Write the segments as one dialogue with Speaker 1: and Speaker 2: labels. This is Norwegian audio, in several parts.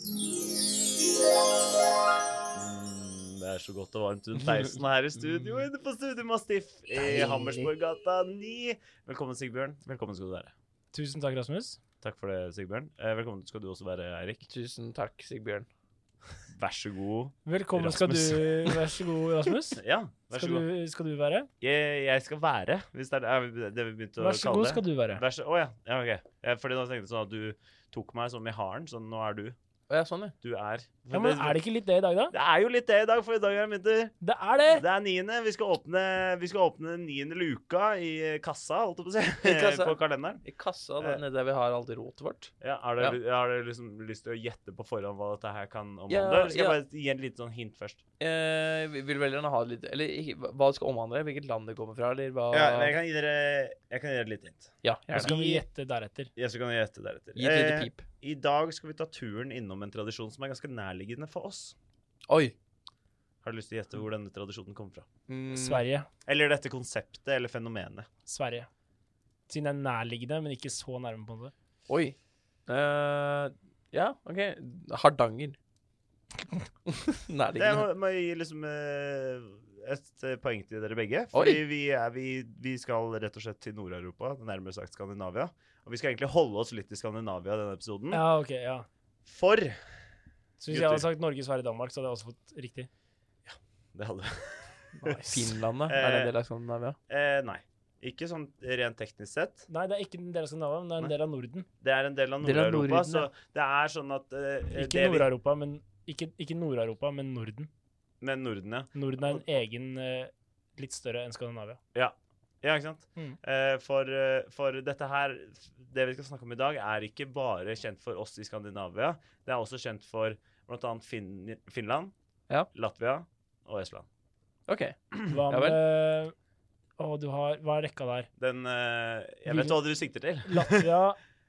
Speaker 1: Mm, er så godt og varmt rundt peisen her i studio inne på Studio Mastiff i Hammersborggata 9. Velkommen, Sigbjørn. Velkommen skal du være.
Speaker 2: Tusen takk, Rasmus.
Speaker 1: Takk for det, Sigbjørn. Eh, Velkommen skal du også være, Eirik.
Speaker 3: Tusen takk, Sigbjørn.
Speaker 1: Vær så god.
Speaker 2: Velkommen skal du Vær så god, Rasmus.
Speaker 1: Ja, vær så
Speaker 2: Skal
Speaker 1: god.
Speaker 2: du, skal du være?
Speaker 1: Jeg, jeg skal være, hvis det er det er det vi begynte å
Speaker 2: Vær så
Speaker 1: kalle
Speaker 2: god
Speaker 1: det.
Speaker 2: skal du være.
Speaker 1: Vær så Å ja. ja ok. Eh, Fordi da tenkte jeg sånn at du tok meg som i haren, sånn nå er du.
Speaker 3: Å ja, sånn, ja.
Speaker 1: Du er.
Speaker 2: Ja, men Er det ikke litt det i dag, da?
Speaker 1: Det er jo litt det i dag, for i dag er det vinter.
Speaker 2: Det er det!
Speaker 1: Det er niende. Vi skal åpne, vi skal åpne den niende luka i kassa, holdt jeg på å si.
Speaker 3: I kassa.
Speaker 1: på kalenderen.
Speaker 3: I kassa
Speaker 1: Eh.
Speaker 3: der nede der vi har alt rotet vårt.
Speaker 1: Ja, har dere har dere liksom lyst til å gjette på forhånd hva dette her kan omhandle?
Speaker 3: Ja,
Speaker 1: skal jeg
Speaker 3: ja.
Speaker 1: bare gi en liten sånn hint først?
Speaker 3: Eh, vi vil veldig gjerne ha litt Eller ikke- hva det skal omhandle, hvilket land det kommer fra, eller hva
Speaker 1: Ja, men jeg kan gi dere, jeg kan gi dere et lite hint.
Speaker 3: Ja,
Speaker 2: Så
Speaker 3: gjerne.
Speaker 2: kan vi gjette deretter.
Speaker 1: Ja, så kan dere gjette deretter.
Speaker 3: Gi et lite
Speaker 1: Eh,
Speaker 3: pip.
Speaker 1: I dag skal vi ta turen innom en tradisjon som er ganske nærliggende for oss.
Speaker 3: Oi.
Speaker 1: Har du lyst til å gjette hvor denne tradisjonen kommer fra?
Speaker 3: Mm,
Speaker 2: Sverige.
Speaker 1: Eller dette konseptet eller fenomenet.
Speaker 2: Sverige. Siden det er nærliggende, men ikke så nærme. på en måte.
Speaker 3: Oi. Eh, ja, OK. Hardanger.
Speaker 1: Det
Speaker 3: Nærliggende.
Speaker 1: må, må jeg gi liksom eh, et eh, poeng til dere begge.
Speaker 3: Oi.
Speaker 1: Fordi vi, er, vi, vi skal rett og slett til Nord-Europa, nærmere sagt Skandinavia. Og vi skal egentlig holde oss litt i Skandinavia i denne episoden.
Speaker 2: Ja, ok, ja.
Speaker 1: For
Speaker 2: Så hvis jeg hadde sagt Norge, Sverige, Danmark, så hadde jeg også fått riktig.
Speaker 1: Det hadde
Speaker 2: Nice.
Speaker 3: Finlandet. Er det
Speaker 1: Eh,
Speaker 3: en del av Skandinavia?
Speaker 1: eh, Nei. Ikke sånn rent teknisk sett.
Speaker 2: Nei, det er ikke en del av Skandinavia, men det er en del av Norden.
Speaker 1: Det er en del av
Speaker 3: Del av
Speaker 1: Nord-Europa,
Speaker 3: Norden,
Speaker 1: så
Speaker 3: ja.
Speaker 1: det er sånn at eh,
Speaker 2: Ikke
Speaker 1: det vi-
Speaker 2: Nord-Europa, men ikke, ikke Nord-Europa, men Norden.
Speaker 1: Men Norden, ja.
Speaker 2: Norden er en egen eh, litt større enn Skandinavia.
Speaker 1: Ja, ikke sant?
Speaker 2: Mm.
Speaker 1: Eh, for, eh, for dette her, det vi skal snakke om i dag, er ikke bare kjent for oss i Skandinavia. Det er også kjent for bl.a. Fin Finland,
Speaker 3: Ja.
Speaker 1: Latvia og Estland. Eh.
Speaker 3: OK.
Speaker 2: Hva
Speaker 3: Ja
Speaker 2: med
Speaker 3: vel.
Speaker 2: Å, du har Hva er rekka der?
Speaker 1: Den eh, Jeg vet hva du sikter til.
Speaker 2: Latvia,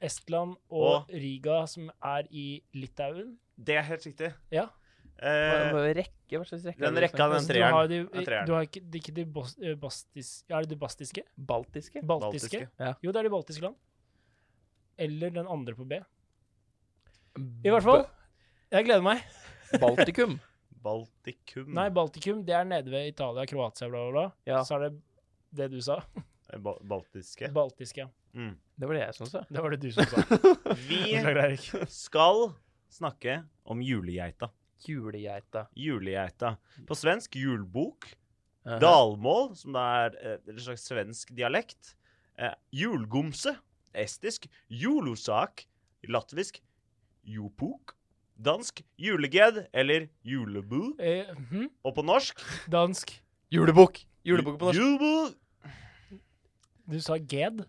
Speaker 2: Estland og
Speaker 1: Og-
Speaker 2: Riga, som er i Litauen.
Speaker 1: Det er helt riktig.
Speaker 2: Ja.
Speaker 3: Hva,
Speaker 1: Eh,
Speaker 3: hva, rekke? Hva slags rekke?
Speaker 1: Den
Speaker 3: er det vi
Speaker 1: rekka,
Speaker 3: snakker om?
Speaker 1: den
Speaker 2: du har, de,
Speaker 1: Den treeren.
Speaker 2: du har ikke, det er ikke de bos, eh, bastis, Er det de bastiske?
Speaker 3: Baltiske?
Speaker 2: Baltiske?
Speaker 3: Ja.
Speaker 2: Jo, det er de baltiske land. Eller den andre på B. I hvert fall. Jeg gleder meg.
Speaker 3: B- Baltikum.
Speaker 1: Baltikum.
Speaker 2: Nei, Baltikum, det er nede ved Italia, Kroatia, bla, bla, bla.
Speaker 3: Ja.
Speaker 2: Så er det det du sa.
Speaker 1: Eh, ba baltiske.
Speaker 2: Baltiske.
Speaker 1: Mm.
Speaker 3: Det var det jeg som sa.
Speaker 2: Det var det du som sa.
Speaker 1: Vi
Speaker 2: Beklager, Eirik.
Speaker 1: skal snakke om julegeita.
Speaker 3: Julegeita.
Speaker 1: Julegeita. På svensk julbok.
Speaker 3: Eh,
Speaker 1: Dalmål, som da er eh, en slags svensk dialekt. Eh, julgomse, estisk. Julosak, latvisk. Jopok. Dansk juleged eller julebu.
Speaker 2: Eh, hm?
Speaker 1: Og på norsk
Speaker 2: Dansk.
Speaker 3: Julebukk. Julebukk på norsk.
Speaker 1: Jubu.
Speaker 2: Du sa ged.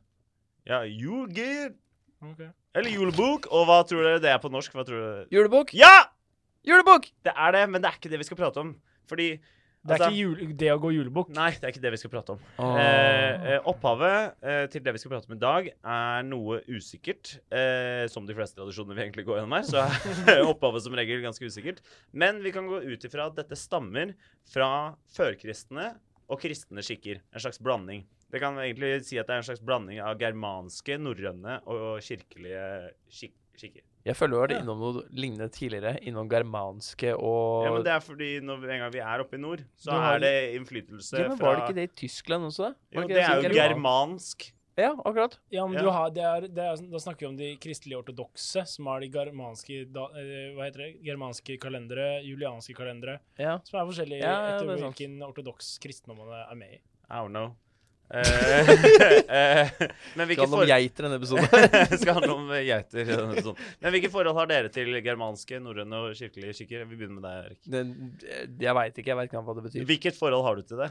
Speaker 1: Ja, julged.
Speaker 2: Ok.
Speaker 1: Eller julebok. Og hva tror dere det er på norsk? Hva tror dere?
Speaker 3: Julebukk.
Speaker 1: Ja!
Speaker 3: Julebukk!
Speaker 1: Det er det, men det er ikke det vi skal prate om. Fordi
Speaker 2: Det er
Speaker 1: Altså-
Speaker 2: ikke jule, det å gå julebukk.
Speaker 1: Nei, det er ikke det vi skal prate om.
Speaker 3: Åh. Ah.
Speaker 1: Eh, eh, opphavet eh, til det vi skal prate om i dag, er noe usikkert. Eh, som de fleste tradisjoner vi egentlig går gjennom her, så er opphavet som regel ganske usikkert. Men vi kan gå ut ifra at dette stammer fra førkristne og kristne skikker. En slags blanding. Det kan egentlig si at det er en slags blanding av germanske, norrøne og kirkelige skik skikker.
Speaker 3: Jeg føler vi har vært
Speaker 1: Ja.
Speaker 3: innom noe lignende tidligere, innom germanske og
Speaker 1: Ja, men Det er fordi når vi, en gang vi er oppe i nord, så
Speaker 2: Du har-
Speaker 1: er det innflytelse
Speaker 3: Ja, men
Speaker 1: fra
Speaker 3: Var det ikke det i Tyskland også? da? Var
Speaker 1: Jo,
Speaker 3: ikke
Speaker 1: det er
Speaker 3: sånn
Speaker 1: jo
Speaker 3: german-
Speaker 1: germansk.
Speaker 3: Ja, akkurat.
Speaker 2: Ja, men
Speaker 1: Ja.
Speaker 2: Du har, det er, det er, da snakker vi om de kristelige ortodokse, som har de germanske, da, eh, hva heter det? germanske kalendere, julianske kalendere,
Speaker 3: Ja.
Speaker 2: som er forskjellige
Speaker 3: Ja, ja,
Speaker 2: etter
Speaker 3: det er sant.
Speaker 2: hvilken ortodoks kristendom man er med i.
Speaker 1: I don't know. Eh, eh, men
Speaker 3: Det
Speaker 1: hvilke
Speaker 3: handler om
Speaker 1: forhold
Speaker 3: geiter i denne episoden.
Speaker 1: skal handle om eh, geiter. i denne episoden. Men hvilke forhold har dere til germanske, norrøne og kirkelige skikker? Vi begynner med deg, Erik.
Speaker 3: Det, eh, jeg veit ikke, jeg veit ikke hva det betyr.
Speaker 1: Hvilket forhold har du til det?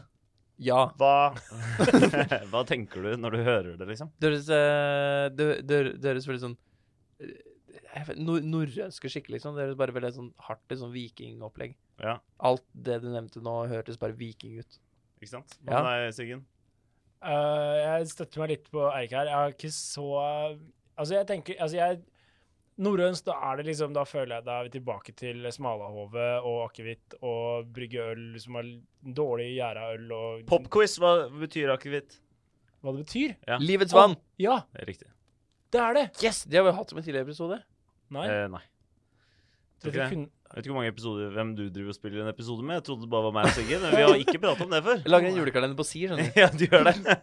Speaker 3: Ja.
Speaker 1: Hva, hva tenker du når du hører det, liksom?
Speaker 3: Det høres, eh, det, det, det høres veldig sånn eh, jeg vet- nor- Norrønske skikker, liksom. Det høres bare veldig sånn hardt litt sånn vikingopplegg.
Speaker 1: Ja,
Speaker 3: Alt det du nevnte nå, hørtes bare viking ut.
Speaker 1: ikke sant? Hva
Speaker 3: Ja.
Speaker 1: med deg, Siggen?
Speaker 2: Eh, jeg støtter meg litt på Eirik her. Jeg har ikke så Altså, jeg tenker altså jeg, Norrøns, da er det liksom Da føler jeg da er vi tilbake til smalahove og akevitt og brygge øl som er dårlig gjæra øl og
Speaker 1: Popquiz, hva betyr akevitt?
Speaker 2: Hva det betyr?
Speaker 1: Ja.
Speaker 3: Livets vann!
Speaker 2: Ja,
Speaker 1: Det er Riktig.
Speaker 2: det er det!
Speaker 3: Yes! Det har vi hatt som en tidligere episode.
Speaker 2: Nei.
Speaker 1: Eh, nei. Tror
Speaker 2: Dette
Speaker 1: ikke det.
Speaker 2: kunne,
Speaker 1: Jeg vet ikke hvor mange episoder hvem du driver og spiller en episode med. Jeg trodde det bare var meg og Siggen. men Vi har ikke pratet om det før.
Speaker 3: Jeg lager en julekalender på Sier, skjønner du.
Speaker 1: Ja, du gjør det.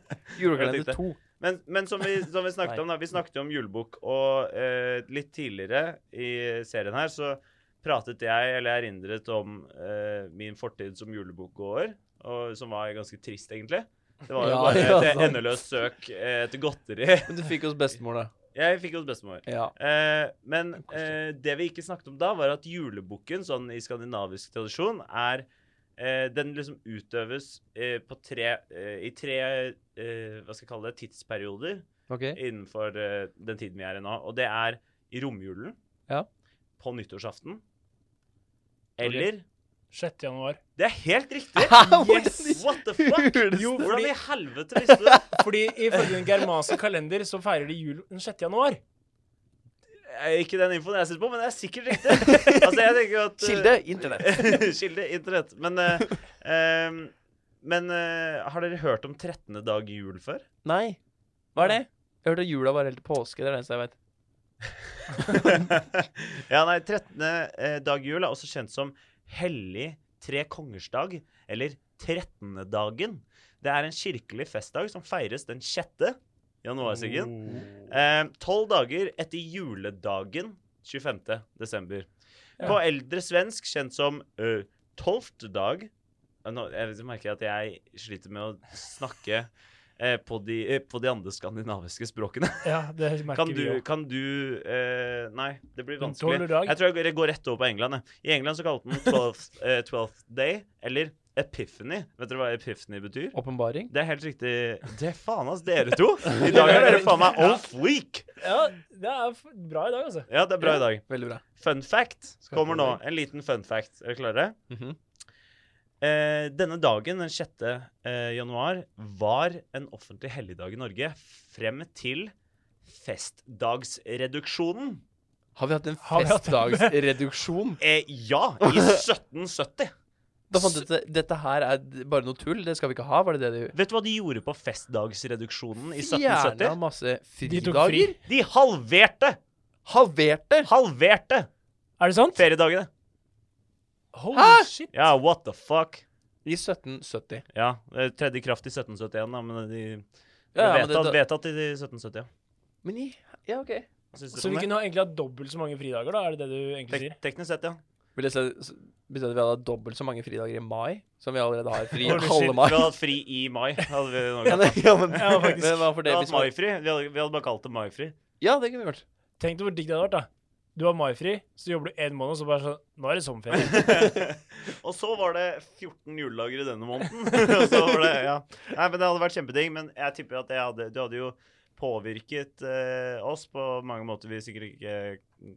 Speaker 3: Julekalender 2.
Speaker 1: Men, men som, vi, som vi snakket om, da, vi snakket jo om julebukk, og eh, litt tidligere i serien her så pratet jeg, eller erindret, om eh, min fortid som julebukkgåer, og- som var ganske trist, egentlig. Det var jo
Speaker 3: Ja,
Speaker 1: bare
Speaker 3: ja,
Speaker 1: et
Speaker 3: sant.
Speaker 1: endeløst søk eh, etter godteri.
Speaker 3: Men du fikk oss bestemor, da.
Speaker 1: Jeg fikk hos bestemor.
Speaker 3: Ja.
Speaker 1: Eh, men eh, det vi ikke snakket om da, var at julebukken, sånn i skandinavisk tradisjon, er eh, Den liksom utøves eh, på tre, eh, i tre eh, Hva skal jeg kalle det? Tidsperioder
Speaker 3: OK.
Speaker 1: innenfor eh, den tiden vi er i nå. Og det er i romjulen.
Speaker 3: Ja.
Speaker 1: På nyttårsaften. Eller
Speaker 2: 6. januar.
Speaker 1: Det er helt riktig!
Speaker 3: Hvordan
Speaker 1: Yes!
Speaker 3: i
Speaker 1: What the fuck?
Speaker 3: juleste-
Speaker 1: Jo, hvordan i helvete visste du det?
Speaker 2: Fordi ifølge den germanske kalender så feirer de jul den 6. januar.
Speaker 1: Eh, Ikke den infoen jeg sitter på, men det er sikkert riktig. Altså, jeg tenker jo at eh,
Speaker 3: Kilde internett.
Speaker 1: Kilde internett. Men, eh, ehm, men eh, har dere hørt om 13. dag jul før?
Speaker 3: Nei. Hva er det? Jeg hørte at jula var helt til påske. Det er det eneste jeg vet.
Speaker 1: ja, nei, 13. eh, dag jul er også kjent som hellig tre kongers dag, eller 13. dagen. Det er en kirkelig festdag som feires den 6. januar,
Speaker 2: Oh.
Speaker 1: Siggen. Ehm, Tolv dager etter juledagen 25. desember. På eldre svensk kjent som eh, tolvte dag Eh, Nå jeg vet- merker jeg at jeg sliter med å snakke eh, på, de, eh, på de andre skandinaviske språkene.
Speaker 2: Ja, det merker
Speaker 1: Kan
Speaker 2: vi
Speaker 1: du,
Speaker 2: jo.
Speaker 1: kan du eh, Nei, det blir
Speaker 2: Den
Speaker 1: vanskelig.
Speaker 2: tolvte dag?
Speaker 1: Jeg tror jeg går- jeg går rett over på England. Jeg. I England så kalte den 12th, eh, 12th day, eller epiphany. Vet dere hva epiphany betyr?
Speaker 3: Åpenbaring?
Speaker 1: Det er helt riktig. Det er faen, ass, dere to! I dag er dere faen meg off week!
Speaker 2: Ja, det er f- bra i dag, altså.
Speaker 1: Ja, det er bra i dag.
Speaker 3: Veldig bra.
Speaker 1: Fun fact
Speaker 3: Skal jeg
Speaker 1: kommer nå.
Speaker 3: prøve?
Speaker 1: En liten fun fact. Er dere klare?
Speaker 3: Mhm.
Speaker 1: Eh, denne dagen, den 6. Eh, januar, var en offentlig helligdag i Norge frem til festdagsreduksjonen.
Speaker 3: Har vi hatt en
Speaker 2: Har vi hatt en-
Speaker 3: festdagsreduksjon?
Speaker 1: Eh, ja, i 1770.
Speaker 3: Da fant jeg ut at dette her er d- bare noe tull. Det skal vi ikke ha, var det det du
Speaker 1: Vet du hva de gjorde på festdagsreduksjonen i
Speaker 3: Fjerna
Speaker 1: 1770?
Speaker 3: masse
Speaker 2: De tok fri.
Speaker 3: fridager.
Speaker 1: De halverte!
Speaker 3: Halverte!
Speaker 1: Halverte
Speaker 2: Er det sant?
Speaker 1: feriedagene.
Speaker 2: Holy
Speaker 3: Hæ?
Speaker 2: shit.
Speaker 1: Ja, what the fuck.
Speaker 3: I 1770.
Speaker 1: Ja, eh, tredje kraft i 1771, da, men de
Speaker 3: Ja, ja, men det-
Speaker 1: vedtatt,
Speaker 3: da-
Speaker 1: vedtatt i 1770. ja.
Speaker 3: Men i Ja, OK.
Speaker 1: Hva synes dere
Speaker 2: Så
Speaker 1: om
Speaker 2: vi
Speaker 1: det?
Speaker 2: kunne ha egentlig hatt dobbelt så mange fridager, da? Er det det du egentlig
Speaker 1: Tek
Speaker 2: sier?
Speaker 1: teknisk sett, ja.
Speaker 3: Vil jeg si s- betyr det at vi hadde dobbelt så mange fridager i mai som vi allerede har fri i
Speaker 1: Holy shit,
Speaker 3: halve
Speaker 1: Vi
Speaker 3: mai?
Speaker 1: hadde hatt fri i mai. Hadde vi nå
Speaker 3: Ja,
Speaker 1: gjort.
Speaker 3: nei, ja, men,
Speaker 2: Ja, faktisk.
Speaker 3: men hva for
Speaker 1: Vi
Speaker 3: det
Speaker 1: hadde
Speaker 3: hvis
Speaker 1: hatt
Speaker 3: man,
Speaker 1: maifri. Vi hadde, vi hadde bare kalt det maifri.
Speaker 3: Ja, det kunne vi gjort.
Speaker 2: Tenk deg hvor digg det hadde vært, da. Du har maifri, så jobber du en måned, og så bare sånn Nå er det sommerferie.
Speaker 1: og så var det 14 juledager i denne måneden. og så var det, ja. Nei, men Det hadde vært kjempedigg, men jeg tipper at jeg hadde, du hadde jo påvirket eh, oss på mange måter vi sikkert ikke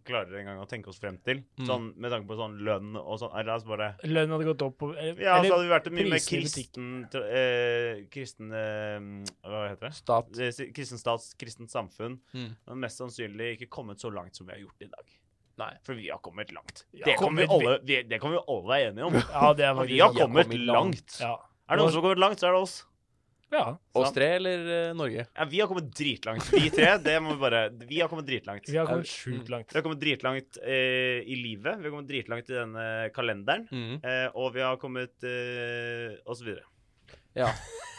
Speaker 1: klarer engang å tenke oss frem til.
Speaker 3: Mm.
Speaker 1: Sånn, med tanke på sånn lønn og sånn. Eller altså bare
Speaker 2: Lønnen hadde gått opp på eller,
Speaker 1: Ja, altså, så hadde vi
Speaker 2: eller
Speaker 1: vært en mye mer
Speaker 2: prisen i
Speaker 1: kristen tra- eh, Kristen eh, Hva heter det?
Speaker 3: Stat.
Speaker 1: Det si- Kristen stats, kristent samfunn.
Speaker 3: Mm.
Speaker 1: Men mest sannsynlig ikke kommet så langt som vi har gjort i dag.
Speaker 3: Nei.
Speaker 1: For vi har kommet langt.
Speaker 2: Ja,
Speaker 1: det, kan vi
Speaker 2: kommet
Speaker 1: alle, vi, det kan vi alle være enige om.
Speaker 2: Ja, det er
Speaker 1: Og
Speaker 2: faktisk
Speaker 1: vi har
Speaker 3: vi har
Speaker 1: kommet,
Speaker 3: kommet langt.
Speaker 1: langt.
Speaker 2: Ja.
Speaker 1: Er det noen som har kommet langt, så er det oss.
Speaker 2: ja.
Speaker 3: Oss tre eller eh, Norge?
Speaker 1: Ja, vi har kommet dritlangt. Vi tre, det må vi bare Vi har kommet dritlangt.
Speaker 2: Vi har kommet sjukt langt.
Speaker 1: Vi har kommet dritlangt eh, i livet, vi har kommet dritlangt i denne kalenderen,
Speaker 3: Mm.
Speaker 1: eh, og vi har kommet eh, Og så videre.
Speaker 3: Ja.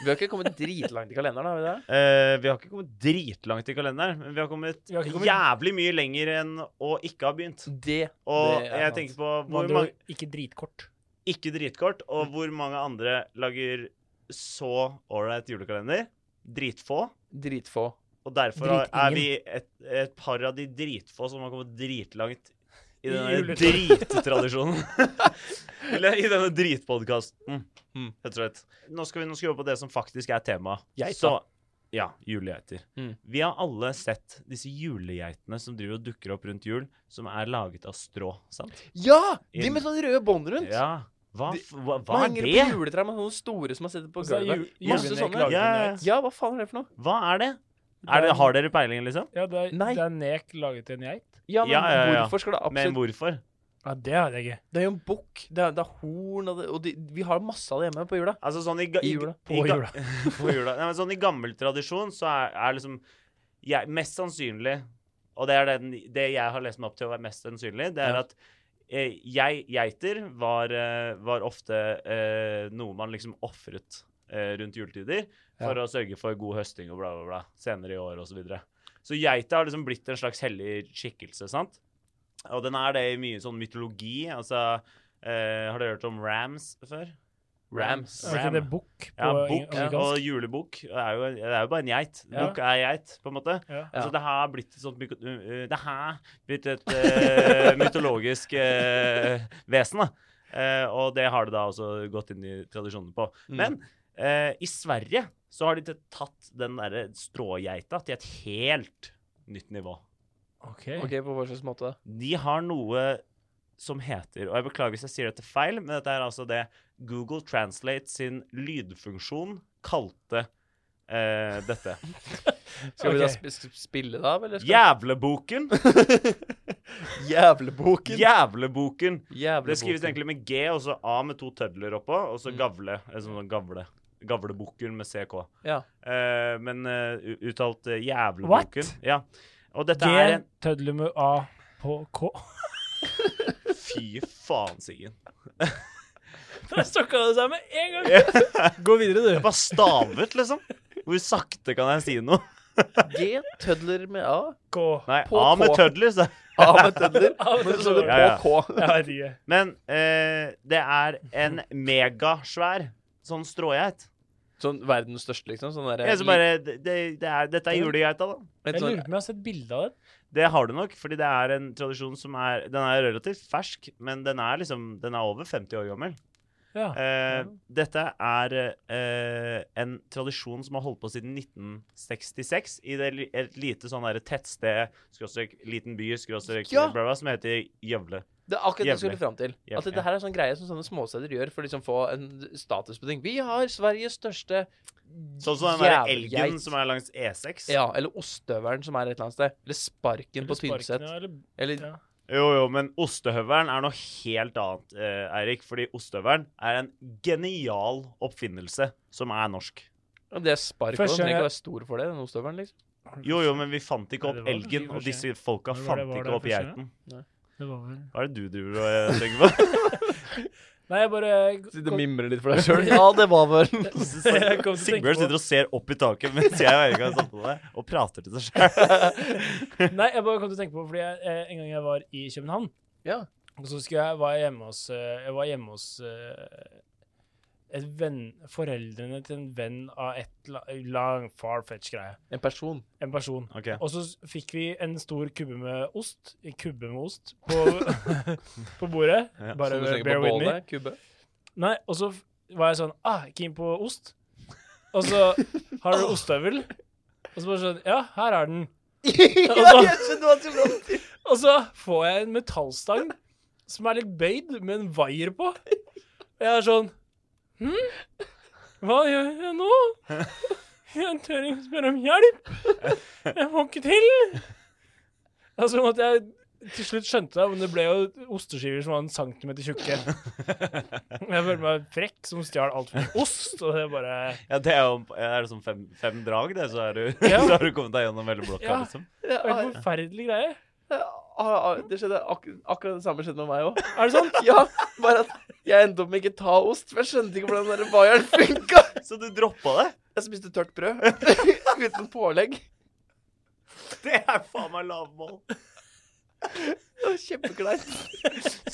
Speaker 3: Vi har ikke kommet dritlangt i kalenderen, har vi det?
Speaker 1: Eh, vi har ikke kommet dritlangt i kalenderen, men vi har kommet,
Speaker 2: Vi har ikke kommet-
Speaker 1: jævlig mye lenger enn å ikke ha begynt.
Speaker 3: Det
Speaker 1: Og
Speaker 3: Det er
Speaker 1: jeg
Speaker 3: sant.
Speaker 1: tenker på
Speaker 2: Med
Speaker 1: hvor
Speaker 2: andre
Speaker 1: mange
Speaker 2: ord, ikke dritkort.
Speaker 1: ikke dritkort, og hvor mange andre lager så ålreit julekalender? Dritfå.
Speaker 3: Dritfå.
Speaker 1: Og derfor har- er
Speaker 2: Dritingen.
Speaker 1: vi et, et par av de dritfå som har kommet dritlangt i
Speaker 2: I
Speaker 1: denne
Speaker 2: juletradisjonen.
Speaker 1: drittradisjonen. Eller i denne dritpodkasten,
Speaker 3: Mm.
Speaker 1: rett og slett. Nå skal vi nå skal vi over på det som faktisk er temaet.
Speaker 3: Geita.
Speaker 1: Så- Ja, julegeiter.
Speaker 3: Mm.
Speaker 1: Vi har alle sett disse julegeitene som driver og dukker opp rundt jul, som er laget av strå, sant?
Speaker 3: Ja! De
Speaker 1: Inn.
Speaker 3: med sånne røde bånd rundt.
Speaker 1: Ja. Hva,
Speaker 3: De-
Speaker 1: f- hva,
Speaker 3: Hva
Speaker 1: hva er
Speaker 3: henger
Speaker 1: det?
Speaker 3: på juletrær med sånne store som har sittet på
Speaker 2: Og så er
Speaker 3: gulvet?
Speaker 2: ju-
Speaker 3: Masse
Speaker 2: julenek
Speaker 3: sånne.
Speaker 2: laget
Speaker 1: Ja, ja,
Speaker 2: med
Speaker 1: ja.
Speaker 2: geit.
Speaker 3: Ja, hva faen er det for noe?
Speaker 1: Hva er det? Er det har dere peiling, liksom?
Speaker 2: Ja, det er,
Speaker 3: Nei.
Speaker 2: det er nek laget til en geit.
Speaker 3: Ja, men
Speaker 1: Ja, ja, ja.
Speaker 3: hvorfor skal det
Speaker 1: Men
Speaker 3: absolutt
Speaker 1: hvorfor?
Speaker 2: Ja, det hadde jeg ikke.
Speaker 3: Det er jo en bukk, det, er- det er horn, og, det, og de, vi har masse av det hjemme på jula.
Speaker 1: Altså sånn i, ga-
Speaker 3: I jula.
Speaker 1: i
Speaker 2: På
Speaker 1: ga-
Speaker 2: jula.
Speaker 1: på jula. Nei, men sånn i gammel tradisjon så er, er liksom jeg, Mest sannsynlig, og det er den, det jeg har lest meg opp til å være mest sannsynlig, det er
Speaker 3: Ja.
Speaker 1: at eh, jeg, geiter var, eh, var ofte eh, noe man liksom ofret eh, rundt juletider for
Speaker 3: Ja.
Speaker 1: å sørge for god høsting og bla, bla, bla senere i år osv. Så, videre. så geita har liksom blitt en slags hellig skikkelse, sant? Og den er det i mye sånn mytologi. Altså, eh, har dere hørt om Rams før?
Speaker 3: Rams.
Speaker 2: Er ikke
Speaker 1: Ram.
Speaker 2: Altså, det bukk på
Speaker 1: Ja,
Speaker 2: eng-
Speaker 1: bukk og
Speaker 2: amerikansk?
Speaker 1: julebukk det er jo, det er jo bare en geit.
Speaker 2: Ja.
Speaker 1: Bukk er geit, på en måte.
Speaker 2: Ja.
Speaker 3: Ja.
Speaker 1: Altså, det har blitt et sånt myko- uh, uh, Det har blitt et eh, mytologisk eh, vesen, da. Eh, og det har det da også gått inn i tradisjonen på.
Speaker 3: Mm.
Speaker 1: Men eh, i Sverige så har de t- tatt den derre strågeita til et helt nytt nivå.
Speaker 2: OK.
Speaker 3: OK, på hva slags måte?
Speaker 1: De har noe som heter, og jeg beklager hvis jeg sier dette feil, men dette er altså det Google Translate sin lydfunksjon kalte eh, dette.
Speaker 3: Skal vi da
Speaker 2: Ok.
Speaker 3: sp sp- spille, da? Eller skal
Speaker 1: Jævleboken!
Speaker 3: Jævleboken!
Speaker 1: Jævleboken!
Speaker 3: Jævleboken.
Speaker 1: Det skrives egentlig med G, og så A med to tødler oppå, og så
Speaker 3: Mm.
Speaker 1: gavle. En sånn gavle. Gavlebukken med CK.
Speaker 3: Ja.
Speaker 1: Eh, men eh, u- uttalt eh, jævlebukken.
Speaker 2: What?
Speaker 1: Ja. Og dette
Speaker 2: G
Speaker 1: er en
Speaker 2: tødler med A på K.
Speaker 1: Fy faen, Siggen.
Speaker 2: Der stokka det seg med en gang!
Speaker 1: Jeg
Speaker 2: Gå videre, du.
Speaker 1: bare stavet, liksom. Hvor sakte kan jeg si noe?
Speaker 3: G tødler med A.
Speaker 2: K.
Speaker 1: Nei,
Speaker 3: På
Speaker 1: A med
Speaker 3: K.
Speaker 1: tødler. Så.
Speaker 3: A med tødler.
Speaker 2: A med
Speaker 3: Men så står det
Speaker 2: tødler.
Speaker 1: Ja,
Speaker 3: på
Speaker 1: ja.
Speaker 3: K.
Speaker 2: Jeg vet ikke.
Speaker 1: Men eh, det er en megasvær sånn strågeit.
Speaker 3: Sånn verdens største, liksom? Sånn der,
Speaker 1: Jeg så bare, det, det er, dette er julegeita, da.
Speaker 3: et
Speaker 2: Jeg
Speaker 3: sånn-
Speaker 2: lurer på om jeg har sett bilde av den.
Speaker 1: Det har du nok, fordi det er en tradisjon som er Den er relativt fersk, men den er liksom Den er over 50 år gammel.
Speaker 2: Ja.
Speaker 1: Eh, dette er eh, en tradisjon som har holdt på siden 1966 i det, li- et lite sånn der tettsted, skråstrek, liten by, skråstrek,
Speaker 3: Ja.
Speaker 1: bla, bla, som heter Gjøvle.
Speaker 3: Det er akkurat det jeg
Speaker 1: Jevnlig.
Speaker 3: skulle fram til. At
Speaker 1: Jevnlig.
Speaker 3: det her er sånn greie som sånne småsteder gjør for å liksom få en status på ting. Vi har Sveriges største
Speaker 1: Sånn som den der
Speaker 3: jævgeit.
Speaker 1: elgen som er langs E E6.
Speaker 3: Ja, eller ostehøvelen som er et eller annet sted. Eller Sparken på
Speaker 2: Eller sparken,
Speaker 3: Tynset.
Speaker 2: ja, eller-
Speaker 3: Eller
Speaker 2: ja.
Speaker 1: Jo, jo, men ostehøvelen er noe helt annet, eh, Eirik. Fordi ostehøvelen er en genial oppfinnelse som er norsk.
Speaker 3: Ja, Det er Sparken. Den
Speaker 2: Første gang
Speaker 3: trenger
Speaker 2: jeg-
Speaker 3: ikke være stor for det, den ostehøvelen, liksom.
Speaker 1: Jo, jo, men vi fant ikke
Speaker 2: Nei,
Speaker 1: opp
Speaker 2: det var-
Speaker 1: elgen,
Speaker 2: var
Speaker 1: og
Speaker 2: skje.
Speaker 1: disse folka
Speaker 2: Når var det-
Speaker 1: fant
Speaker 2: var
Speaker 1: ikke
Speaker 2: det
Speaker 1: opp
Speaker 2: første gang?
Speaker 1: geiten.
Speaker 2: Det var vel
Speaker 1: Hva er det du driver og eh, tenker på?
Speaker 2: Nei, jeg bare
Speaker 3: Sitter og mimrer litt for deg sjøl. Ja, det var vel
Speaker 2: Jeg kom til å tenke
Speaker 1: Sigbjørn
Speaker 2: på-
Speaker 1: sitter og ser opp i taket mens jeg og Eirik har samtale, og prater til seg sjøl.
Speaker 2: Nei, jeg bare kom til å tenke på fordi jeg, eh, en gang jeg var i København,
Speaker 3: Ja.
Speaker 2: og så skulle jeg, var jeg hjemme hos, eh, jeg var hjemme hos eh, et venn, foreldrene til en venn av et la- lang farfetch greie.
Speaker 3: En person.
Speaker 2: En person.
Speaker 1: Ok.
Speaker 2: Og så s- fikk vi en stor kubbe med ost, en kubbe med ost, på, på bordet.
Speaker 1: Ja,
Speaker 2: bare
Speaker 3: som du slenger
Speaker 2: bear
Speaker 3: på
Speaker 2: with me.
Speaker 3: bålet. Kubbe.
Speaker 2: Nei, og så f- var jeg sånn Ah, keen på ost. Og så har du ostehøvel. Og så bare sånn Ja, her er den.
Speaker 3: ja, jeg skjønner hva du mener.
Speaker 2: Og så får jeg en metallstang som er litt bøyd, med en vaier på. Og jeg er sånn Hm? Hva gjør jeg nå? Jeg tør ikke spørre om hjelp. Jeg får ikke til. Altså måtte jeg til slutt skjønte jeg, men det ble jo osteskiver som var en centimeter tjukke. Jeg følte meg frekk som stjal altfor mye ost, og det bare
Speaker 1: Ja, det er jo er det sånn fem, fem drag, det, så, er du,
Speaker 2: Ja.
Speaker 1: så har du kommet deg gjennom hele blokka,
Speaker 2: Ja.
Speaker 1: liksom.
Speaker 3: Ja,
Speaker 2: Det var en forferdelig greie.
Speaker 3: ah, ah, Det skjedde ak akkurat det samme skjedde med meg òg.
Speaker 2: Er det sånn?
Speaker 3: Ja, bare at jeg endte opp med ikke ta ost, for jeg skjønte ikke hvordan den der vaieren funka.
Speaker 1: Så du droppa det?
Speaker 3: Jeg spiste tørt brød uten pålegg.
Speaker 1: Det er faen meg lavmål.
Speaker 3: Det var Kjempekleint.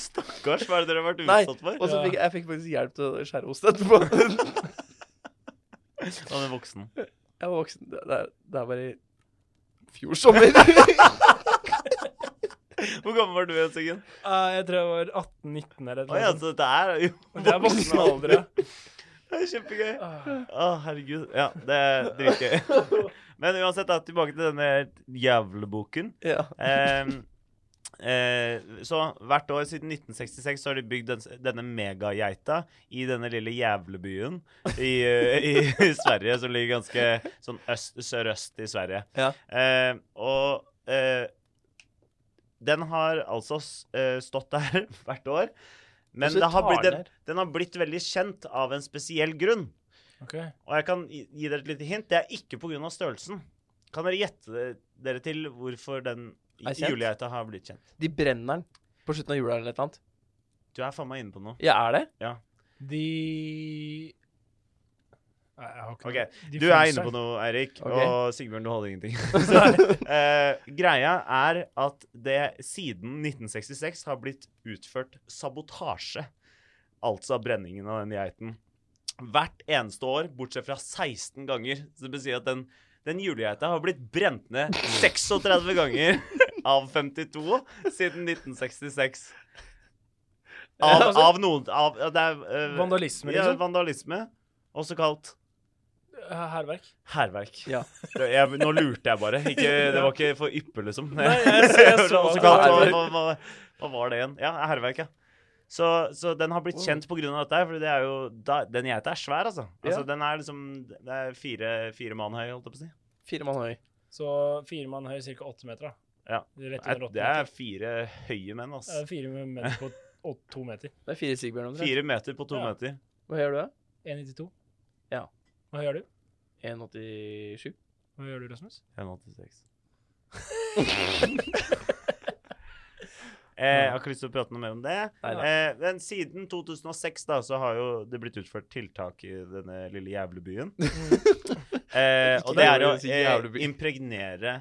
Speaker 1: Stakkars, hva er det dere har vært
Speaker 3: Nei,
Speaker 1: utsatt for?
Speaker 3: og så
Speaker 2: Ja.
Speaker 3: fikk jeg fikk faktisk hjelp til å skjære ost etterpå. Jeg
Speaker 1: Han er voksen.
Speaker 3: var voksen. Det, det, er- det er bare i fjor sommer.
Speaker 1: Hvor gammel var du, Siggen?
Speaker 2: Eh, jeg tror jeg var 18-19 eller
Speaker 1: Å ja,
Speaker 2: noe sånt.
Speaker 1: så dette er jo
Speaker 2: Det er voksen alder, ja.
Speaker 1: Det er kjempegøy. Å,
Speaker 2: Ah.
Speaker 1: herregud. Ja, det er dritgøy. Men uansett, da, tilbake til denne jævleboken.
Speaker 3: ja.
Speaker 1: Ehm, eh, så hvert år siden 1966 så har de bygd den, denne megageita i denne lille jævlebyen i, eh, i, i Sverige, som ligger ganske sånn øst, sørøst i Sverige.
Speaker 3: Ja.
Speaker 1: Eh, og eh, den har altså s- eh, stått der hvert år. Men
Speaker 3: Og så
Speaker 1: det har blitt,
Speaker 3: tar
Speaker 1: den,
Speaker 3: den her.
Speaker 1: den har blitt veldig kjent av en spesiell grunn.
Speaker 2: Ok.
Speaker 1: Og jeg kan gi gi dere et lite hint. Det er ikke pga. størrelsen. Kan dere gjette dere til hvorfor den
Speaker 3: Er kjent?
Speaker 1: julegeita har blitt kjent?
Speaker 3: De brenner den. På slutten av jula eller et eller annet.
Speaker 1: Du er faen meg inne på noe.
Speaker 3: Ja, er det?
Speaker 2: De Nei, jeg har ikke
Speaker 1: Ok,
Speaker 2: noe. De
Speaker 1: Du er inne på noe, Eirik,
Speaker 3: Ok.
Speaker 1: og Sigbjørn, du holder ingenting. Så, eh, greia er at det siden 1966 har blitt utført sabotasje, altså brenningen av den geiten, hvert eneste år, bortsett fra 16 ganger. Så det betyr at den, den julegeita har blitt brent ned 36 ganger av 52 siden 1966. Av,
Speaker 3: Ja, altså-
Speaker 1: av noen av, Det er eh,
Speaker 2: Vandalisme,
Speaker 1: ja,
Speaker 2: liksom?
Speaker 1: vandalisme, også kalt
Speaker 2: Hærverk?
Speaker 1: Hærverk.
Speaker 3: Ja.
Speaker 1: Det- Jeg, nå lurte jeg bare. Ikke, det var ikke for yppe, liksom.
Speaker 2: Nei, jeg- jeg så-
Speaker 1: Også kalt, hva,
Speaker 3: Hærverk.
Speaker 1: hva, hva, hva var det igjen? Ja, hærverk, ja. Så, så den har blitt
Speaker 3: Wow.
Speaker 1: kjent pga. dette. her, Fordi det er jo, da, den geita er svær, altså. altså
Speaker 3: Ja.
Speaker 1: Den er liksom det er fire, fire mann høy, holdt jeg på å si.
Speaker 3: Fire mann høy.
Speaker 2: Så fire mann høy, ca. åtte meter. da.
Speaker 1: Ja.
Speaker 2: Rett
Speaker 1: Nei,
Speaker 2: under åtte
Speaker 1: Det er
Speaker 2: meter.
Speaker 1: fire høye menn,
Speaker 2: Det
Speaker 1: altså.
Speaker 2: er fire meter på åt- to meter.
Speaker 3: Det er fire Sigbjørn omtrent.
Speaker 1: Fire meter på to
Speaker 2: Ja.
Speaker 1: meter.
Speaker 3: Hva gjør du da?
Speaker 2: 1,92.
Speaker 3: Ja.
Speaker 2: Hva gjør du?
Speaker 3: 1,87.
Speaker 2: Hva gjør du, Rasmus?
Speaker 1: 1,86. Eh, jeg har ikke lyst til å prate noe mer om det.
Speaker 3: Nei, nei.
Speaker 1: Eh, men siden 2006 da, så har jo det blitt utført tiltak i denne lille jævlebyen.
Speaker 3: Mm.
Speaker 1: eh, og det er å
Speaker 3: Ikke
Speaker 1: eh,
Speaker 3: jævleby.
Speaker 1: impregnere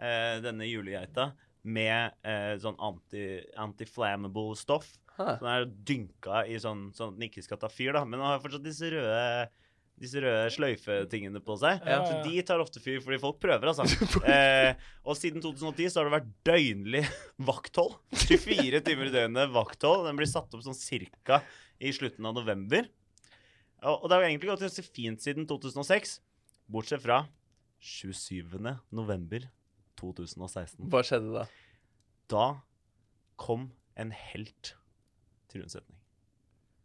Speaker 1: eh, denne julegeita med eh, sånn anti, anti-flammable stoff.
Speaker 3: Hæ.
Speaker 1: Den er dynka i sånn, sånn at den ikke skal ta fyr, da. Men den har fortsatt disse røde, disse røde sløyfetingene på seg.
Speaker 3: Ja.
Speaker 2: Eh,
Speaker 1: Så de tar ofte fyr fordi folk prøver, altså. Eh, og siden 2010 så har det vært døgnlig vakthold. 24 timer i døgnet vakthold. Den blir satt opp sånn cirka i slutten av november. Og, og det har jo egentlig gått ganske fint siden 2006, bortsett fra 27. november 2016.
Speaker 3: Hva skjedde da?
Speaker 1: Da kom en helt til unnsetning.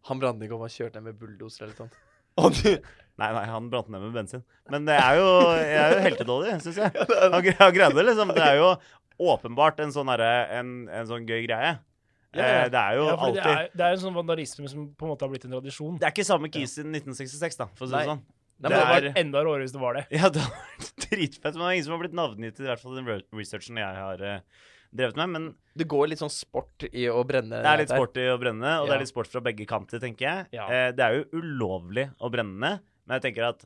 Speaker 3: Han brant ikke og var kjørt ned med bulldoser eller noe sånt.
Speaker 1: Nei, nei, han brant ned med bensin. Men det er jo, jeg er jo heltedådig, syns jeg. Han, gre- han greide det, liksom. Det er jo åpenbart en sånn, herre- en, en sånn gøy greie.
Speaker 3: Ja, ja.
Speaker 1: Eh, Det er jo
Speaker 2: Ja, fordi
Speaker 1: alltid
Speaker 2: det er, det er en sånn vandalisme som på en måte har blitt en tradisjon.
Speaker 1: Det er ikke samme kis siden 1966, da, for å si det
Speaker 3: Nei.
Speaker 1: sånn. det
Speaker 3: Nei,
Speaker 2: det hadde
Speaker 1: er-
Speaker 2: vært enda råere hvis det var det.
Speaker 1: Ja, det har vært dritfett, men det er ingen som har blitt navngitt i hvert fall den re- researchen jeg har eh, drevet med. Men
Speaker 3: Det går litt sånn sport i å brenne.
Speaker 1: det er litt
Speaker 3: Eh, der.
Speaker 1: sporty å brenne, og det
Speaker 3: Ja.
Speaker 1: er litt sport fra begge kanter, tenker jeg.
Speaker 3: Ja.
Speaker 1: Eh, Det er jo ulovlig å brenne ned, men jeg tenker at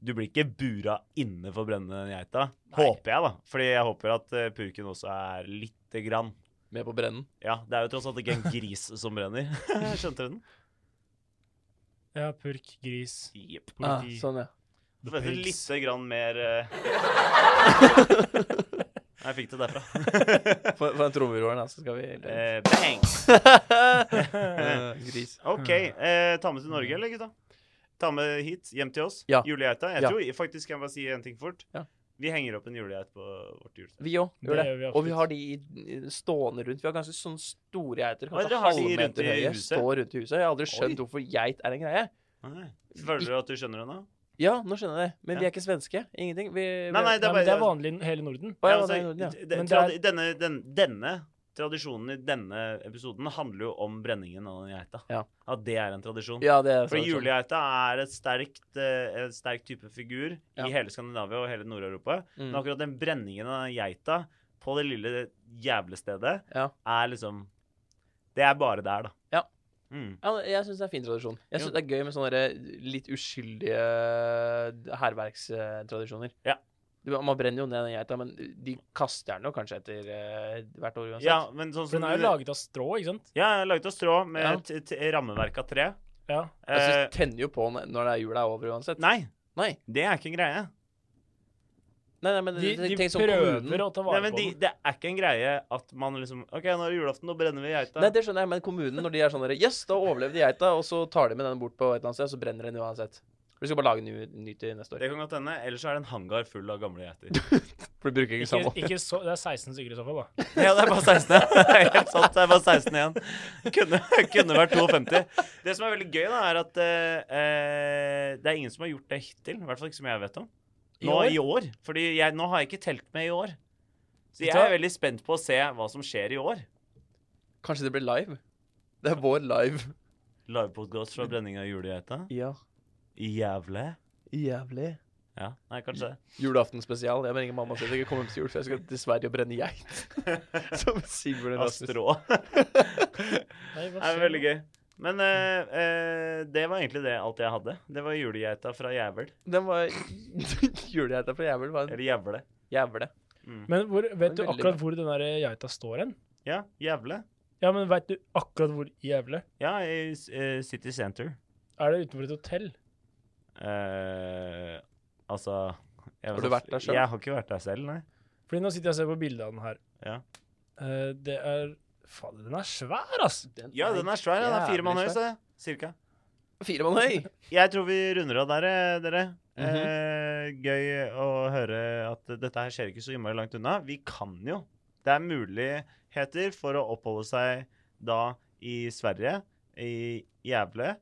Speaker 1: du blir ikke bura inne for å brenne den geita.
Speaker 3: Nei.
Speaker 1: Håper jeg, da. Fordi jeg håper at eh, purken også er lite grann
Speaker 3: Med på brennen.
Speaker 1: Ja, det er jo tross alt ikke en gris som brenner. Skjønte du den?
Speaker 2: Ja, purk, gris,
Speaker 1: Jepp.
Speaker 3: Ah,
Speaker 2: politi
Speaker 3: sånn, ja.
Speaker 2: the
Speaker 1: Venter
Speaker 2: pigs.
Speaker 1: lite grann mer eh. Jeg fikk det derfra.
Speaker 3: Få få en trommevirvel, da, så skal vi
Speaker 1: Eh, bang!
Speaker 3: Gris.
Speaker 1: OK. eh, ta med til Norge, eller, gutta? Ta med hit, hjem til oss.
Speaker 3: Ja.
Speaker 1: Julegeita. Jeg
Speaker 3: Ja.
Speaker 1: tror faktisk kan jeg bare si en ting fort.
Speaker 3: Ja.
Speaker 1: Vi henger opp en julegeit på vårt juletre.
Speaker 3: Vi òg
Speaker 2: Det
Speaker 3: gjør det.
Speaker 2: gjør vi
Speaker 3: og vi
Speaker 2: absolutt.
Speaker 3: har de i- stående rundt. Vi har ganske sånne store geiter.
Speaker 1: Hva er det
Speaker 3: Kanskje
Speaker 1: dere har de rundt i
Speaker 3: halvmeter høye.
Speaker 1: huset?
Speaker 3: Står rundt i huset. Jeg har aldri skjønt hvorfor geit er en greie.
Speaker 1: Nei. Føler du at du skjønner det nå?
Speaker 3: Ja, nå skjønner jeg det. Men
Speaker 1: Ja.
Speaker 3: vi er ikke svenske. Ingenting. Vi,
Speaker 1: Nei,
Speaker 3: vi
Speaker 1: nei,
Speaker 2: Nei, men det er vanlig i hele Norden.
Speaker 3: Å, ja,
Speaker 1: Ja, altså,
Speaker 3: nei, ja.
Speaker 1: d- d-
Speaker 2: Men det er-
Speaker 1: tradi- denne, den, denne tradisjonen i denne episoden handler jo om brenningen av den geita.
Speaker 3: Ja.
Speaker 1: At det er en tradisjon.
Speaker 3: ja, det er
Speaker 1: For
Speaker 3: sånn-
Speaker 1: julegeita er et sterkt, eh, en sterk type figur
Speaker 3: Ja.
Speaker 1: i hele Skandinavia og hele Nord-Europa. Men
Speaker 3: Mm.
Speaker 1: akkurat den brenningen av den geita på det lille jævlestedet
Speaker 3: Ja.
Speaker 1: er liksom Det er bare der, da.
Speaker 3: Ja.
Speaker 1: Mm.
Speaker 3: Ja, jeg syns det er en fin tradisjon. Jeg
Speaker 1: Jo.
Speaker 3: synes Det er gøy med sånne der litt uskyldige hærverkstradisjoner.
Speaker 1: Ja.
Speaker 3: Du, man brenner jo ned den geita, men de kaster den jo kanskje etter eh, hvert år uansett.
Speaker 1: ja, men sånn
Speaker 2: For
Speaker 1: som
Speaker 2: den er
Speaker 1: du-
Speaker 2: jo laget av strå, ikke sant?
Speaker 1: Ja, jeg laget av strå med
Speaker 3: Ja.
Speaker 1: et, et rammeverk av tre.
Speaker 2: Ja.
Speaker 3: Jeg
Speaker 1: Eh,
Speaker 3: synes, tenner jo på når når det er jula er over uansett.
Speaker 1: nei,
Speaker 3: Nei.
Speaker 1: det er ikke en greie.
Speaker 3: Nei, nei, men
Speaker 2: De, de
Speaker 3: tenk sånn kommunen
Speaker 2: prøver å ta
Speaker 1: Nei,
Speaker 2: vare
Speaker 1: men
Speaker 2: på
Speaker 1: de,
Speaker 2: den. Det
Speaker 1: Det er ikke en greie at man liksom OK, nå er det julaften, nå brenner vi geita.
Speaker 3: Nei, det skjønner jeg, men kommunen, når de er sånn der Yes, da overlevde geita, og så tar de med den bort på et eller annet sted, og så brenner den uansett. For de skal bare lage ny, ny til neste år.
Speaker 1: Det kan godt hende. Ellers så er det en hangar full av gamle geiter.
Speaker 3: For de bruker ikke
Speaker 2: ikke,
Speaker 3: samme.
Speaker 2: ikke så, det er 16 stykker i så fall, da.
Speaker 1: ja, det er bare 16. Det er Helt sant. Det er bare 16 igjen. Kunne, kunne vært 52. Det som er veldig gøy, da, er at eh, eh, det er ingen som har gjort det hittil. I hvert fall ikke som jeg vet om. Nå
Speaker 2: år?
Speaker 1: i år. Fordi jeg, nå har jeg ikke telt med i år. Så
Speaker 2: Vet
Speaker 1: jeg
Speaker 2: du hva?
Speaker 1: er veldig spent på å se hva som skjer i år.
Speaker 3: Kanskje det blir live? Det er vår live.
Speaker 1: Livepodkast fra brenning av julegeita.
Speaker 3: Ja.
Speaker 1: I jævle.
Speaker 3: Jævlig.
Speaker 1: Ja, nei, kanskje det.
Speaker 3: Julaften spesial. Jeg må ringe mamma og si at jeg ikke kommer hjem til jul, for jeg skal til Sverige og brenne geit. Som Sigbjørn
Speaker 1: Av
Speaker 3: Rasmus.
Speaker 1: strå.
Speaker 2: Nei, hva
Speaker 1: Det er
Speaker 2: skjer
Speaker 1: veldig
Speaker 2: nå?
Speaker 1: gøy. Men eh, eh, det var egentlig det alt jeg hadde. Det var julegeita fra Jævel.
Speaker 3: Den var Julegeita fra jævel var en
Speaker 1: Eller Jævle.
Speaker 3: jævle.
Speaker 2: Men hvor, vet du
Speaker 3: veldig
Speaker 2: akkurat hvor den der geita står hen?
Speaker 1: Ja, Jævle.
Speaker 2: Ja, men veit du akkurat hvor i Gävle?
Speaker 1: Ja, i eh, City Center.
Speaker 2: Er det utenfor et hotell?
Speaker 1: Eh, altså jeg
Speaker 3: Har
Speaker 1: vet
Speaker 3: du
Speaker 1: at-
Speaker 3: vært der selv?
Speaker 1: Jeg har ikke vært der selv, nei.
Speaker 2: Fordi nå sitter jeg og ser på bildet av den her.
Speaker 1: Ja.
Speaker 2: Eh, det er Fader, den er svær, ass!
Speaker 1: Ja, den er svær. Den er fire mann høy,
Speaker 3: jævlig
Speaker 1: så
Speaker 3: svær.
Speaker 1: cirka.
Speaker 3: Fire mann høy!
Speaker 1: Jeg tror vi runder av der, eh, dere.
Speaker 3: Mhm.
Speaker 1: eh, gøy å høre at dette her skjer ikke så innmari langt unna. Vi kan jo. Det er muligheter for å oppholde seg da i Sverige, i Jævle,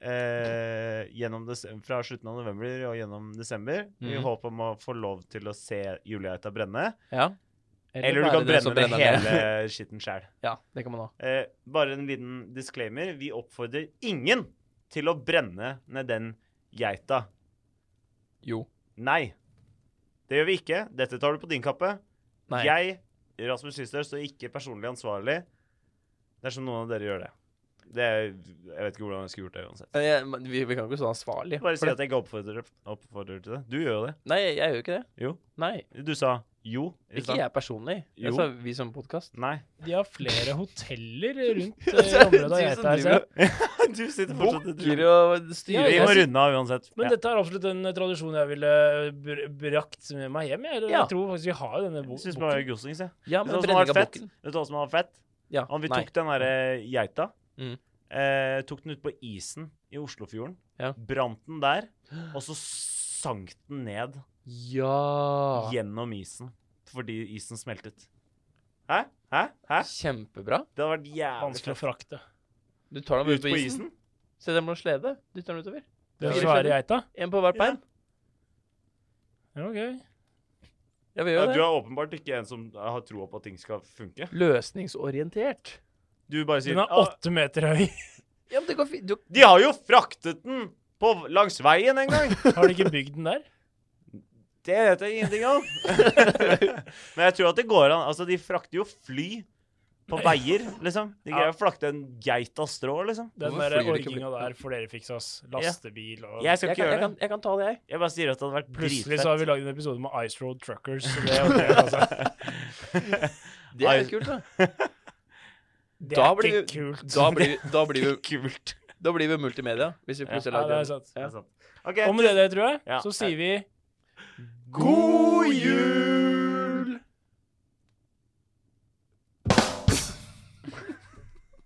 Speaker 1: eh, gjennom des- fra slutten av november og gjennom desember. Vi
Speaker 3: Mhm.
Speaker 1: håper om å få lov til å se Julieta brenne.
Speaker 3: Ja.
Speaker 1: Eller du
Speaker 3: bare
Speaker 1: kan
Speaker 3: den som
Speaker 1: brenne ned
Speaker 3: brenner ned.
Speaker 1: hele skitten sjæl.
Speaker 3: Ja, det kan man ha.
Speaker 1: Eh, bare en liten disclaimer. Vi oppfordrer ingen til å brenne ned den geita.
Speaker 3: Jo.
Speaker 1: Nei. Det gjør vi ikke. Dette tar du på din kappe.
Speaker 3: Nei.
Speaker 1: Jeg, Rasmus Lystøl, står ikke personlig ansvarlig dersom noen av dere gjør det. det jeg vet ikke hvordan jeg skulle gjort det uansett.
Speaker 3: Eh, jeg- men vi, vi kan ikke stå ansvarlig.
Speaker 1: Bare
Speaker 3: for
Speaker 1: si
Speaker 3: det.
Speaker 1: at jeg ikke oppfordrer, oppfordrer til det. Du gjør jo det.
Speaker 3: Nei, jeg gjør jo ikke det.
Speaker 1: Jo.
Speaker 3: Nei.
Speaker 1: Du sa jo. i
Speaker 3: Ikke
Speaker 1: stad.
Speaker 3: jeg personlig. Jeg
Speaker 1: Jo.
Speaker 3: sa vi som podkast.
Speaker 1: Nei.
Speaker 2: De har flere hoteller rundt eh, i området av geita her. ser jeg.
Speaker 1: du sitter fortsatt
Speaker 3: Bukker og styrer.
Speaker 2: Ja,
Speaker 1: Vi må
Speaker 2: jeg-
Speaker 1: runde av uansett.
Speaker 2: Men
Speaker 1: Ja.
Speaker 2: dette er absolutt en eh, tradisjon jeg ville eh, br- brakt med meg hjem. Jeg,
Speaker 3: Ja.
Speaker 2: jeg tror faktisk vi har jo denne bo-
Speaker 1: Jeg syns
Speaker 2: boken.
Speaker 1: bare Gossings, jeg.
Speaker 3: Ja,
Speaker 1: Vet du hva Sånn som
Speaker 3: men
Speaker 1: hadde
Speaker 3: brenning av
Speaker 1: vært fett?
Speaker 3: bukken.
Speaker 1: Vet du hva som hadde vært fett?
Speaker 3: Ja,
Speaker 1: Om vi
Speaker 3: nei.
Speaker 1: tok den derre geita,
Speaker 3: Mm.
Speaker 1: eh, tok den ut på isen i Oslofjorden,
Speaker 3: Ja.
Speaker 1: brant den der, og så sank den ned
Speaker 3: Ja.
Speaker 1: gjennom isen fordi isen smeltet. Hæ? Hæ? Hæ?
Speaker 3: Kjempebra.
Speaker 1: Det hadde vært jævlig
Speaker 2: Vanskelig å
Speaker 1: fett.
Speaker 2: frakte.
Speaker 3: Du tar den
Speaker 1: Ut
Speaker 3: ut på isen. Se, den må du slede. Dytter den utover.
Speaker 2: Den
Speaker 3: Ja.
Speaker 2: svære geita?
Speaker 3: En på hver
Speaker 1: Ja.
Speaker 3: bein.
Speaker 2: Ja, ok.
Speaker 3: Ja, vi
Speaker 1: Ja,
Speaker 3: gjør
Speaker 1: du
Speaker 3: det.
Speaker 1: er åpenbart ikke en som har troa på at ting skal funke.
Speaker 3: Løsningsorientert.
Speaker 1: Du bare sier
Speaker 2: Den er
Speaker 1: «Ah,
Speaker 2: åtte meter høy.
Speaker 3: Ja, men det går fint. Du
Speaker 1: De har jo fraktet den på, langs veien en gang!
Speaker 2: Har de ikke bygd den der?
Speaker 1: Det vet jeg ingenting om. Men jeg tror at det går an. Altså, de frakter jo fly på veier, liksom. De greier å frakte en geit av strå, liksom.
Speaker 2: Den
Speaker 3: Hvorfor
Speaker 2: der
Speaker 3: flyr de ikke
Speaker 2: orginga
Speaker 3: bygd den?
Speaker 2: der får dere fikse, ass. Lastebil og
Speaker 1: Jeg skal ikke
Speaker 3: jeg kan, jeg,
Speaker 1: gjøre
Speaker 3: kan,
Speaker 1: det.
Speaker 3: jeg kan ta det, jeg.
Speaker 1: Jeg bare sier at det hadde vært
Speaker 2: Plutselig så har
Speaker 1: dritfett.
Speaker 2: vi lagd en episode med Ice Road Truckers. Så det, er ok, altså.
Speaker 3: Det er
Speaker 1: Ai.
Speaker 3: litt kult, da.
Speaker 2: det
Speaker 3: Da
Speaker 2: er
Speaker 3: blir
Speaker 2: ikke
Speaker 3: vi-
Speaker 2: kult.
Speaker 3: Da blir, da blir, vi,
Speaker 1: Kult.
Speaker 3: da blir vi multimedia, hvis vi plutselig
Speaker 2: ja, det
Speaker 3: lager
Speaker 2: er
Speaker 3: det.
Speaker 2: sant.
Speaker 1: Det er sant. OK.
Speaker 2: Og med det, der, tror jeg,
Speaker 1: Ja.
Speaker 2: så sier vi
Speaker 1: God jul!